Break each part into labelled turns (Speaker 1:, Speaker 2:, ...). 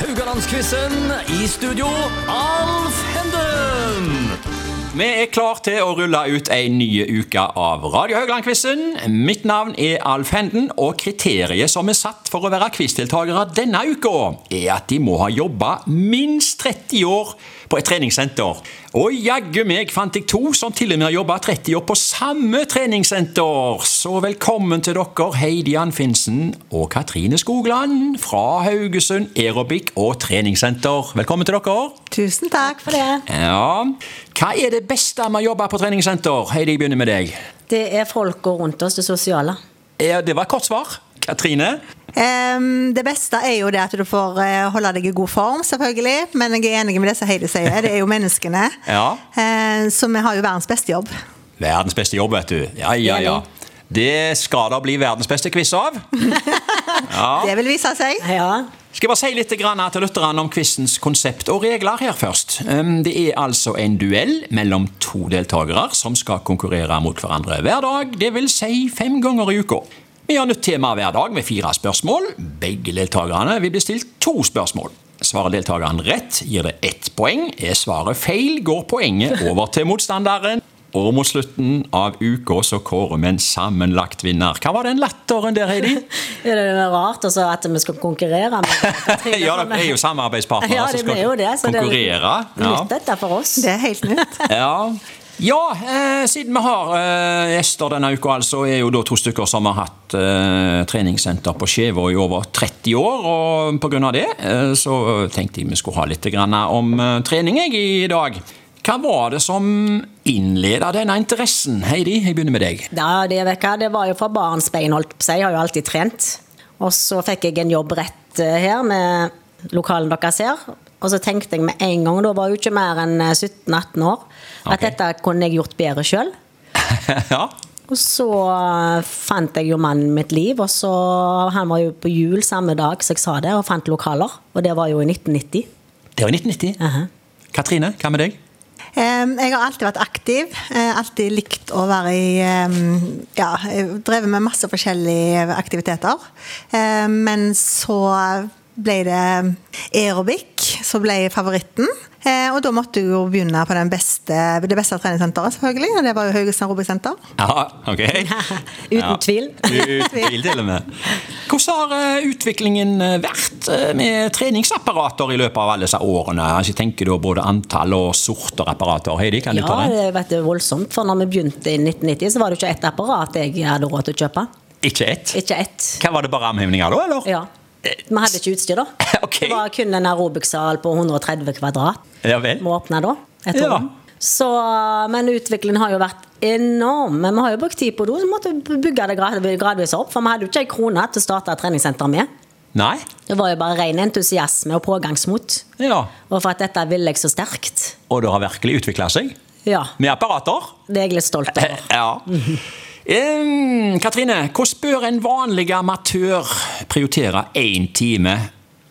Speaker 1: Rogalandsquizen. I studio, Alf Henden.
Speaker 2: Vi er klar til å rulle ut ei ny uke av Radio Haugland-quizen. Mitt navn er Alf Henden, og kriteriet som er satt for å være quizdeltakere denne uka, er at de må ha jobba minst 30 år på et treningssenter. Og jaggu meg fant jeg to som til og med har jobba 30 år på samme treningssenter! Så velkommen til dere, Heidi Anfinsen og Katrine Skogland fra Haugesund Aerobic og treningssenter. Velkommen til dere.
Speaker 3: Tusen takk for det.
Speaker 2: Ja. Hva er det beste med å jobbe på treningssenter? Heidi, jeg begynner med deg.
Speaker 3: Det er folka rundt oss, det sosiale.
Speaker 2: Ja, det var et kort svar. Katrine?
Speaker 3: Ehm, det beste er jo det at du får eh, holde deg i god form, selvfølgelig. Men jeg er enig med det som Heidi sier, det er jo menneskene.
Speaker 2: Ja.
Speaker 3: Eh, så vi har jo verdens beste jobb.
Speaker 2: Verdens beste jobb, vet du. Ja, ja, ja. Det skal da bli verdens beste quiz av.
Speaker 3: Det vil vise seg.
Speaker 4: Ja.
Speaker 2: Skal jeg bare si litt grann til lytterne om quizens konsept og regler her først. Um, Det er altså en duell mellom to deltakere som skal konkurrere mot hverandre hver dag, det vil si fem ganger i uka. Vi har nytt tema hver dag med fire spørsmål. Begge deltakerne vil bli stilt to spørsmål. Svarer deltakeren rett, gir det ett poeng. Er svaret feil, går poenget over til motstanderen. Og mot slutten av uka så kårer vi en sammenlagt vinner. Hva var den latteren der, Heidi?
Speaker 4: Er det noe rart altså, at vi skal konkurrere med Katrine?
Speaker 2: ja, dere er jo samarbeidspartnere
Speaker 4: Ja,
Speaker 2: som
Speaker 4: det
Speaker 2: skal
Speaker 4: er jo det. Så
Speaker 2: konkurrere.
Speaker 4: Det er nytt dette for oss.
Speaker 3: Det er helt nytt.
Speaker 2: ja. ja eh, siden vi har eh, gjester denne uka, altså, er jo da to stykker som har hatt eh, treningssenter på Skjevå i over 30 år. Og pga. det eh, så tenkte jeg vi skulle ha litt grann om eh, trening jeg, i dag. Hva var det som innleda denne interessen? Heidi, jeg begynner med deg.
Speaker 4: Ja, det, vet jeg hva, det var jo fra barnsbein, holdt på å si. Jeg har jo alltid trent. Og så fikk jeg en jobb rett eh, her med lokalen deres her. Og så tenkte jeg med en gang, da var jeg jo ikke mer enn eh, 17-18 år, at
Speaker 2: Ok.
Speaker 4: dette kunne jeg gjort bedre sjøl.
Speaker 2: ja.
Speaker 4: Og så eh, fant jeg jo mannen mitt liv, og så han var jo på jul samme dag som jeg sa det, og fant lokaler. Og det var jo i 1990.
Speaker 2: Det var i 1990.
Speaker 4: Aha.
Speaker 2: Katrine, hva med deg?
Speaker 3: Ehm, jeg har alltid vært aktiv. eh, alltid likt å være i ehm, Ja, jeg drevet med masse forskjellige aktiviteter. Ehm, men så ble det aerobic som ble favoritten. Eh, og da måtte jeg jo begynne på den beste, det beste treningssenteret, selvfølgelig. Og det var jo Haugesund Aerobic Senter.
Speaker 2: Ja, ok.
Speaker 4: Uten tvil.
Speaker 2: Uten tvil, til og med. Hvordan har eh, utviklingen eh, vært eh, med treningsapparater i løpet av alle disse årene? Altså, jeg tenker da både antall og sorter apparater. Heidi, kan du
Speaker 4: Ja,
Speaker 2: ta den?
Speaker 4: det vet du, voldsomt. For når vi begynte i 1990, så var det jo ikke ett apparat jeg hadde råd til å kjøpe.
Speaker 2: Ikke ett?
Speaker 4: Ikke ett.
Speaker 2: Hva Var det bare armhevninger da, eller? Eh,
Speaker 4: Ja. Vi hadde ikke utstyr, da.
Speaker 2: Ok.
Speaker 4: Det var kun en aerobic-sal på 130 kvadrat.
Speaker 2: Ja vel.
Speaker 4: Vi åpna da. Et
Speaker 2: Ja.
Speaker 4: rom. Så, men utviklingen har jo vært enorm. Men vi har jo brukt tid på det, så vi måtte bygge det grad- gradvis opp. For vi hadde jo ikke ei krone til å starte et treningssenter med.
Speaker 2: Nei?
Speaker 4: Det var jo bare ren entusiasme og pågangsmot.
Speaker 2: Ja.
Speaker 4: Og for at dette ville jeg så sterkt.
Speaker 2: Og det har virkelig utvikla seg?
Speaker 4: Ja.
Speaker 2: Med apparater?
Speaker 4: Det er jeg litt stolt over.
Speaker 2: Ja. Em, Katrine, hvordan bør en vanlig amatør prioritere én time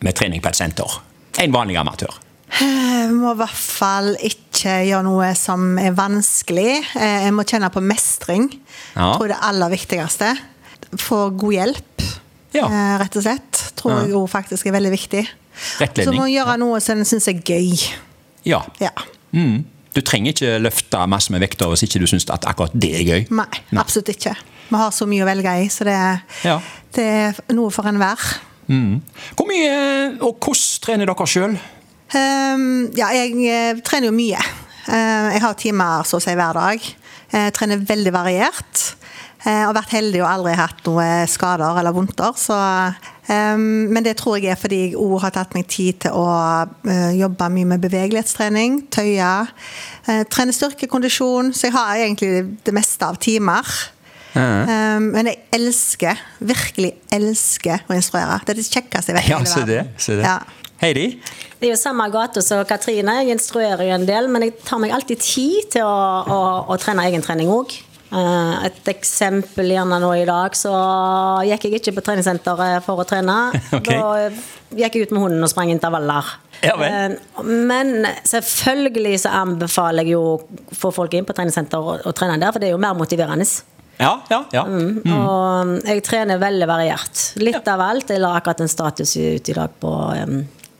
Speaker 2: med trening på et senter? En vanlig amatør.
Speaker 3: Jeg må i hvert fall ikke gjøre noe som er vanskelig. Eh, Jeg må kjenne på mestring.
Speaker 2: Ja.
Speaker 3: Tror det er aller viktigste. Få god hjelp,
Speaker 2: Ja.
Speaker 3: eh, rett og slett. Tror jeg jo faktisk er veldig viktig.
Speaker 2: Rettledning.
Speaker 3: Så må jeg gjøre noe som en syns er gøy.
Speaker 2: Ja.
Speaker 3: Ja.
Speaker 2: Mm. Du trenger ikke løfte masse med vekter hvis ikke du syns at akkurat det er gøy.
Speaker 3: Nei, absolutt ikke. Vi har så mye å velge i, så det,
Speaker 2: Ja.
Speaker 3: det er noe for enhver.
Speaker 2: Mm. Hvor mye eh, og hvordan trener dere sjøl?
Speaker 3: Ehm, ja, jeg eh, trener jo mye. Ehm, jeg har timer så å si hver dag. Jeg trener veldig variert. Eh, og vært heldig og aldri hatt noe skader eller vondter. Så, ehm, men det tror jeg er fordi jeg òg har tatt meg tid til å eh, jobbe mye med bevegelighetstrening, tøye. eh, trene styrkekondisjon. Så jeg har egentlig det meste av timer. Ehm, men jeg elsker, virkelig elsker å instruere. Det er det kjekkeste jeg vet. i hele verden. Ja.
Speaker 2: Heidi?
Speaker 4: Det er jo samme gata som Katrine. Jeg instruerer jo en del, men jeg tar meg alltid tid til å, å, å trene egentrening òg. Eh, Et eksempel gjerne nå i dag, så gikk jeg ikke på treningssenteret for å trene.
Speaker 2: Ok.
Speaker 4: Da gikk jeg ut med hunden og sprang intervaller.
Speaker 2: Ja vel.
Speaker 4: Eh, Men selvfølgelig så anbefaler jeg jo å få folk inn på treningssenter og, og trene der, for det er jo mer motiverende.
Speaker 2: Ja, ja, ja.
Speaker 4: Mm. eh, Og jeg trener veldig variert. Litt av alt. Jeg la akkurat en status ut i dag på um,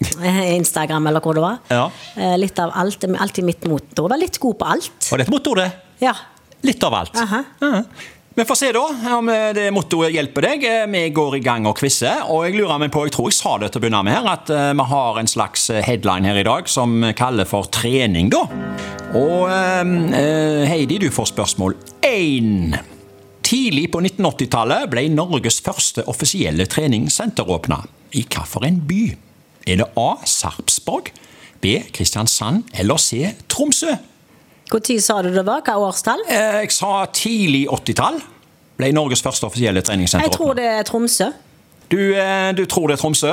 Speaker 4: Instagram eller hvor det var.
Speaker 5: Ja.
Speaker 4: Eh, Litt av alt. Det er Alltid mitt motto. Var litt god på alt.
Speaker 5: Og det er et motto, det.
Speaker 4: Ja.
Speaker 5: Litt av alt.
Speaker 4: Aha.
Speaker 5: Ja.
Speaker 2: Vi får se da om eh, det mottoet hjelper deg. Eh, Vi går i gang og quizzer. Og jeg lurer meg på, jeg tror jeg sa det til å begynne med her, at eh, vi har en slags eh, headline her i dag som vi kaller for trening, da. Og eh, eh, Heidi, du får spørsmål én. Tidlig på 1980-tallet ble Norges første offisielle treningssenter åpna. I hvilken by? Er det A. Sarpsborg, B. Kristiansand eller C. Tromsø?
Speaker 4: Når sa du det var? Hva årstall?
Speaker 2: Eh, Jeg sa tidlig 80-tall. Ble Norges første offisielle treningssenter.
Speaker 4: Jeg tror
Speaker 2: åpnet.
Speaker 4: det er Tromsø.
Speaker 2: Du, eh, du tror det er Tromsø?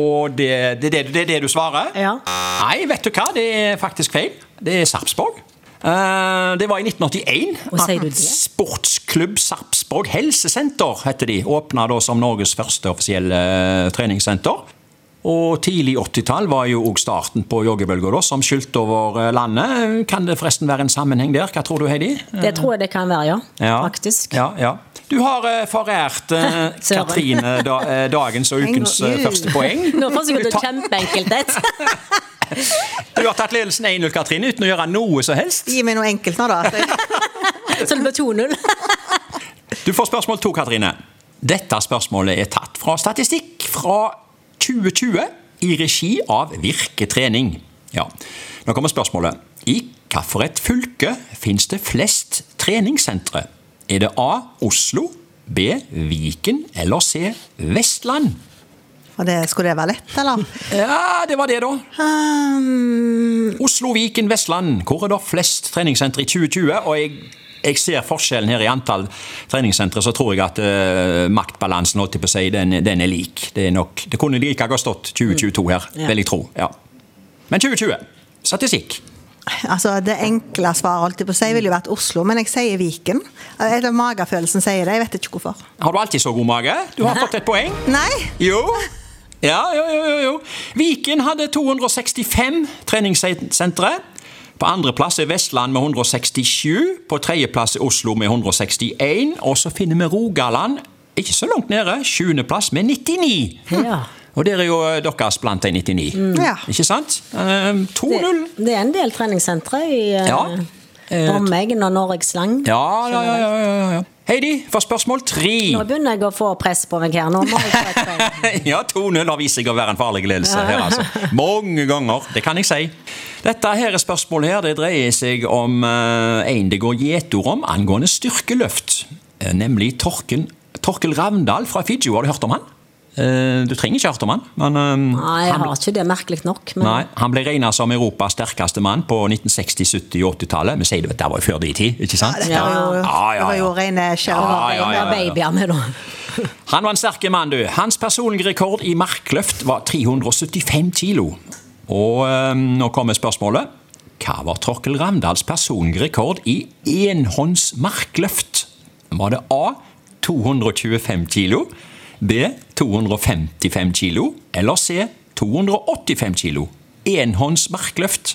Speaker 2: Og det, det, det, det er det du svarer?
Speaker 4: Ja.
Speaker 2: Nei, vet du hva? Det er faktisk feil. Det er Sarpsborg. Eh, det var i 1981
Speaker 4: Og sier du det?
Speaker 2: Sportsklubb Sarpsborg Helsesenter heter de. Åpna da som Norges første offisielle eh, treningssenter. Og tidlig 80-tall var jo òg starten på joggebølga, da, som skylte over eh, landet. Kan det forresten være en sammenheng der? Hva tror du, Heidi?
Speaker 4: Det tror jeg det kan være, ja.
Speaker 2: Ja.
Speaker 4: Faktisk.
Speaker 2: Ja, ja. Du har eh, forært eh,
Speaker 4: Søren.
Speaker 2: Katrine da, eh, dagens og ukens eh,
Speaker 3: Engel.
Speaker 2: første poeng.
Speaker 4: Nå forsøker
Speaker 2: Du
Speaker 4: du
Speaker 2: tar-
Speaker 4: kjempeenkelt et.
Speaker 2: Du har tatt ledelsen 1-0, Katrine, uten å gjøre noe som helst.
Speaker 3: Gi meg noe enkelt nå, da. at jeg-
Speaker 4: Så det blir 2-0.
Speaker 2: Du får spørsmål to, Katrine. Dette spørsmålet er tatt fra statistikk fra 2020 i regi av Virke trening. Ja. Nå kommer spørsmålet. I hvilket fylke finnes det flest treningssentre? Er det A. Oslo, B. Viken eller C. Vestland?
Speaker 3: Og det, skulle det være lett, eller?
Speaker 2: Ja, det var det, da.
Speaker 3: Um,
Speaker 2: Oslo, Viken, Vestland. Hvor er det flest treningssentre i 2020? Og jeg, jeg ser forskjellen her i antall treningssentre, så tror jeg at eh, maktbalansen holdt jeg på å si, den, den er lik. Det, er nok, det kunne like godt stått 2022 her,
Speaker 4: Ja.
Speaker 2: vil jeg tro. Ja. Men 2020. Statistikk.
Speaker 3: altså, det enkle svaret holdt jeg på å si, ville jo vært Oslo, men jeg sier Viken. Eh, Det er magefølelsen sier det, jeg vet ikke hvorfor.
Speaker 2: Har du alltid så god mage? Du har fått et poeng.
Speaker 3: Nei!
Speaker 2: Jo. Ja, jo, jo, jo, jo. Viken hadde 265 treningssentre. På andreplass er Vestland med 167. På tredjeplass er Oslo med 161. Og så finner vi Rogaland ikke så langt nede. Sjuendeplass med 99.
Speaker 4: Ja.
Speaker 2: Og der er jo eh, deres blant de 99.
Speaker 3: Ja.
Speaker 2: Ikke sant? Ehm, 2-0.
Speaker 4: Mm. Det er en del treningssentre i eh,
Speaker 2: Ja. Eh,
Speaker 4: omegn og Norges land.
Speaker 2: Ja, ja, ja, ja, ja, ja. Heidi, for spørsmål tre.
Speaker 4: Nå begynner jeg å få press på meg her. Nå må jeg få et poeng.
Speaker 2: Ja, 2-0 har vist seg å være en farlig ledelse her, altså. Mange ganger, det kan jeg si. Dette her er spørsmålet her, det dreier seg om eh, en det går gjetord om angående styrkeløft. Eh, nemlig Torken, Torkel Ravndal fra Fiji. Har du hørt om han? Eh, du trenger ikke ha hørt om han, men eh,
Speaker 4: Nei, jeg
Speaker 2: han,
Speaker 4: har ikke det, merkelig nok. Men
Speaker 2: Nei, han ble regna som Europas sterkeste mann på 1960-, 70- og 80-tallet. Vi sier det, dette var jo før de tid, ikke sant?
Speaker 3: Dette var jo,
Speaker 2: Ja, ja, ja.
Speaker 3: Det var jo rene
Speaker 2: Ja,
Speaker 3: skjell.
Speaker 2: ja, ja, ja.
Speaker 4: Det er babyer med, da.
Speaker 2: Han var en sterke mann, du. Hans personlige rekord i markløft var 375 kilo. Og eh, nå kommer spørsmålet. Hva var Torkel Ramdals personlige rekord i enhånds markløft? Var det A 225 kilo, B 255 kilo eller C 285 kilo? Enhånds markløft.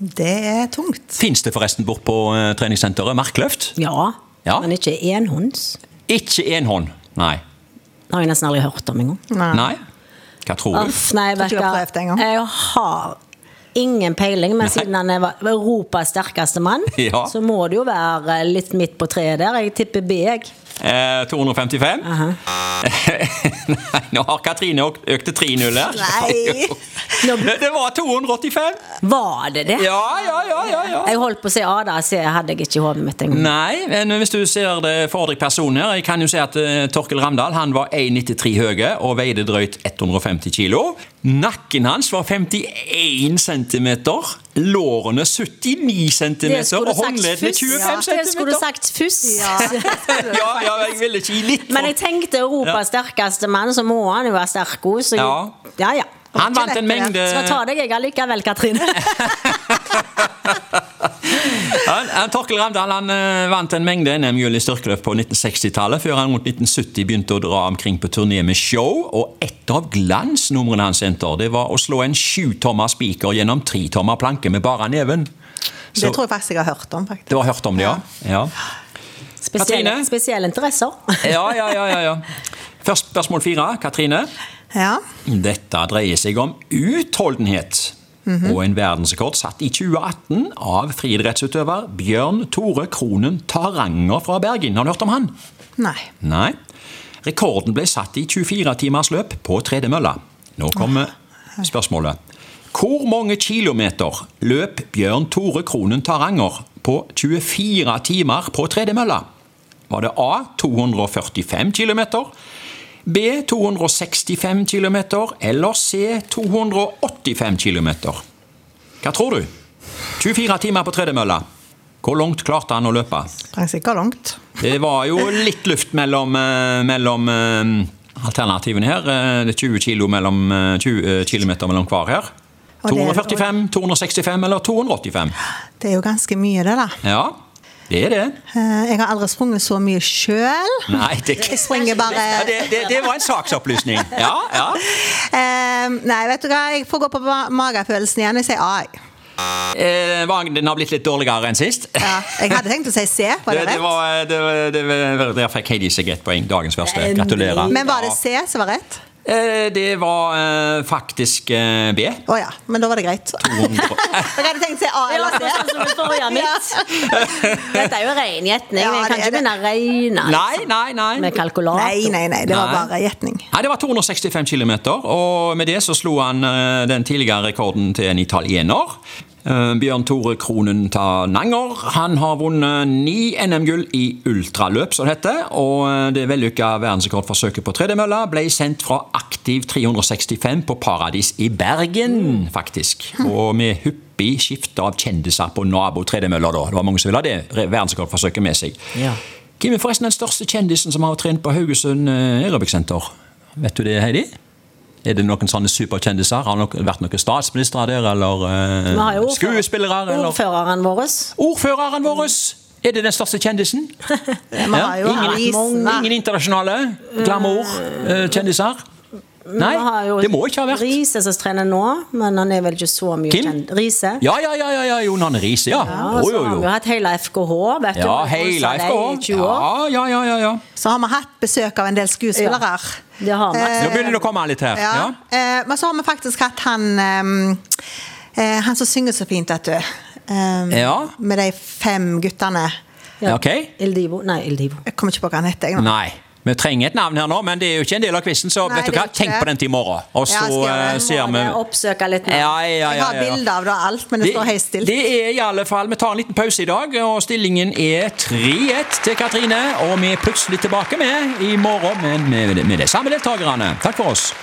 Speaker 3: Det er tungt.
Speaker 2: Fins det forresten bort på eh, treningssenteret markløft?
Speaker 4: Ja,
Speaker 2: Ja.
Speaker 4: men ikke enhånds.
Speaker 2: Ikke enhånd, nei.
Speaker 4: Det har jeg nesten aldri hørt om engang.
Speaker 2: Nei? Hva tror du?
Speaker 4: Uff, nei,
Speaker 3: Tror ikke
Speaker 4: vet
Speaker 3: du har
Speaker 4: hva.
Speaker 3: prøvd engang.
Speaker 4: Jeg har ingen peiling, men siden han er va- Europas sterkeste mann,
Speaker 2: Ja.
Speaker 4: så må det jo være eh, litt midt på treet der. Jeg tipper B, jeg.
Speaker 2: Eh, 255.
Speaker 4: Aha.
Speaker 2: Nei, nå har Katrine økt- økt til 3-0 her.
Speaker 3: Nei.
Speaker 2: Jo. Det det var 285.
Speaker 4: Var det det?
Speaker 2: Ja, ja, ja, ja, ja.
Speaker 4: Jeg holdt på å si Ada, så jeg hadde jeg ikke i hodet mitt engang.
Speaker 2: Nei, men hvis du ser det for deg personen her, jeg kan jo si at eh, Torkel Ramdal han var 1,93 høye og veide drøyt 150 kilo. Nakken hans var 51 cm, lårene 79 cm
Speaker 4: Det skulle
Speaker 2: og
Speaker 4: du sagt
Speaker 2: håndleddene
Speaker 4: først.
Speaker 2: 25
Speaker 4: Ja, Det skulle du
Speaker 2: cm.
Speaker 4: sagt først.
Speaker 2: Ja, ja, jeg ville ikke gi litt
Speaker 4: Men
Speaker 2: for
Speaker 4: jeg tenkte Europas sterkeste mann, så må han jo være sterk òg, så
Speaker 2: Ja.
Speaker 4: ja. ja.
Speaker 2: Han vant en
Speaker 3: Ikke lett,
Speaker 2: mengde
Speaker 4: Skal ta deg jeg allikevel, Katrine.
Speaker 2: Han, han, Torkel Ramdal han eh, vant en mengde NM-gull i styrkeløft på 1960-tallet, før han rundt 1970 begynte å dra omkring på turné med show. Og et av glansnumrene hans enter, det var å slå en sjutommer spiker gjennom tritommer planke med bare neven. Så
Speaker 3: Det tror jeg faktisk jeg har hørt om. faktisk.
Speaker 2: du har hørt om det, ja? Ja,
Speaker 4: Spesielle,
Speaker 2: Katrine?
Speaker 4: spesielle interesser.
Speaker 2: ja, ja. ja, ja, ja. Først spørsmål fire. Katrine.
Speaker 3: Ja.
Speaker 2: Dette dreier seg om utholdenhet. Og en verdensrekord satt i 2018 av friidrettsutøver Bjørn Tore Kronen Taranger fra Bergen. Har du hørt om han?
Speaker 3: Nei.
Speaker 2: Nei. Rekorden ble satt i 24 timers løp på tredemølla. Nå kommer spørsmålet. Hvor mange kilometer løp Bjørn Tore Kronen Taranger på 24 timer på tredemølla? Var det A 245 km, B 265 km eller C 285 km? Hva tror du? 24 timer på tredemølla. Hvor langt klarte han å løpe?
Speaker 3: Sprang sikkert langt.
Speaker 2: Det var jo litt luft mellom, eh, mellom eh, alternativene her. Eh, Det er 20 kilo mellom, eh, 20 eh, kilometer mellom hver her.
Speaker 3: Og det-
Speaker 2: 245, 265 eller 285.
Speaker 3: Det er jo ganske mye, det, da.
Speaker 2: Ja, det er det.
Speaker 3: Eh, Jeg har aldri sprunget så mye sjøl.
Speaker 2: Nei, det,
Speaker 3: Jeg springer bare
Speaker 2: ja, det, det, det var en saksopplysning. Ja, ja.
Speaker 3: Eh, Nei, vet du hva, jeg får gå på ma- magefølelsen igjen. Jeg sier A. jeg.
Speaker 2: Eh, Vagnen har blitt litt dårligere enn sist.
Speaker 3: Ja, jeg hadde tenkt å si C, var det
Speaker 2: det,
Speaker 3: rett?
Speaker 2: var, eh, det, var- det, var- der fikk Heidi seg ett poeng. Dagens første. Gratulerer.
Speaker 3: Eh, Men var det C som var rett?
Speaker 2: Eh, Det var eh, faktisk eh, B.
Speaker 3: Å ja, men da var det greit. Jeg hadde tenkt å si A
Speaker 4: Ja,
Speaker 3: eller
Speaker 4: det var sånn
Speaker 3: C.
Speaker 4: som det forrige mitt. Dette er jo ren gjetning.
Speaker 3: Ja,
Speaker 4: Vi
Speaker 3: det
Speaker 4: kan
Speaker 3: er
Speaker 4: ikke
Speaker 3: det.
Speaker 4: begynne å regne altså,
Speaker 2: Nei, nei, nei.
Speaker 4: med kalkulator.
Speaker 3: Nei, nei, nei, det var
Speaker 2: Nei.
Speaker 3: bare gjetning.
Speaker 2: Nei, det var 265 km, og med det så slo han eh, den tidligere rekorden til en italiener. Eh, Bjørn Tore Kronen Tananger. Han har vunnet ni NM-gull i ultraløp, som det heter. Og eh, det vellykka verdensrekordforsøket på tredemølla ble sendt fra Aktiv 365 på Paradis i Bergen, faktisk. Og med hyppig skifte av kjendiser på nabo-tredemølla, da. Det var mange som ville ha det re- verdensrekordforsøket med seg.
Speaker 4: Ja.
Speaker 2: Hvem er forresten den største kjendisen som har trent på Haugesund eh, aerobic-senter? Vet du det, Heidi? Er det noen sånne superkjendiser? Har det vært noen statsministre der, eller eh,
Speaker 4: Vi har jo ordfører-
Speaker 2: skuespillere? Eller?
Speaker 4: Ordføreren vår.
Speaker 2: Ordføreren vår! Er det den største kjendisen?
Speaker 3: Vi har jo
Speaker 2: Ingen,
Speaker 3: hatt
Speaker 2: ingen,
Speaker 3: mange.
Speaker 2: ingen internasjonale glamour-kjendiser? Nei,
Speaker 4: Vi har jo
Speaker 2: det må ikke ha vært.
Speaker 4: Riise som trener nå, men han er vel ikke så mye
Speaker 2: Kim?
Speaker 4: kjent. Riise.
Speaker 2: Ja, ja, ja, ja, ja, Jon Arne Riise, ja.
Speaker 4: Ja,
Speaker 2: Jo,
Speaker 4: og så
Speaker 2: jo,
Speaker 4: har vi jo
Speaker 2: jo.
Speaker 4: hatt hele FKH. Vet du,
Speaker 2: Ja,
Speaker 4: og
Speaker 2: hele
Speaker 4: koset deg i
Speaker 2: FK.
Speaker 4: 20 år.
Speaker 2: Ja, ja, ja, ja, ja.
Speaker 3: Så har vi hatt besøk av en del skuespillere. Eh,
Speaker 4: Ja, det har vi.
Speaker 2: Nå begynner det å komme litt her.
Speaker 3: Ja.
Speaker 2: Ja.
Speaker 3: Eh, Men så har vi faktisk hatt han ehm, eh, Han som synger så fint, vet du. Ehm,
Speaker 2: Ja.
Speaker 3: Med de fem guttene.
Speaker 4: Ja.
Speaker 2: Ok.
Speaker 4: Ildivo. Nei, Ildivo.
Speaker 3: Jeg kommer ikke på hva han heter. Jeg, nå.
Speaker 2: Nei. Vi trenger et navn her nå, men det er jo ikke en del av quizen, så
Speaker 3: Nei,
Speaker 2: vet du
Speaker 3: det er
Speaker 2: hva,
Speaker 3: ikke
Speaker 2: tenk
Speaker 3: det.
Speaker 2: på den til i morgen. Og så
Speaker 3: Ja, jeg skal gjøre
Speaker 2: eh,
Speaker 3: det.
Speaker 2: ser vi
Speaker 4: Må det Oppsøke litt nå.
Speaker 2: Ja, ja,
Speaker 3: jeg
Speaker 2: ja.
Speaker 3: har
Speaker 2: ja, ja.
Speaker 3: bilder av det og alt, men det, står helt stille.
Speaker 2: det er i alle fall Vi tar en liten pause i dag, og stillingen er 3-1 til Katrine. Og vi er plutselig tilbake med i morgen, men med, med de samme deltakerne. Takk for oss.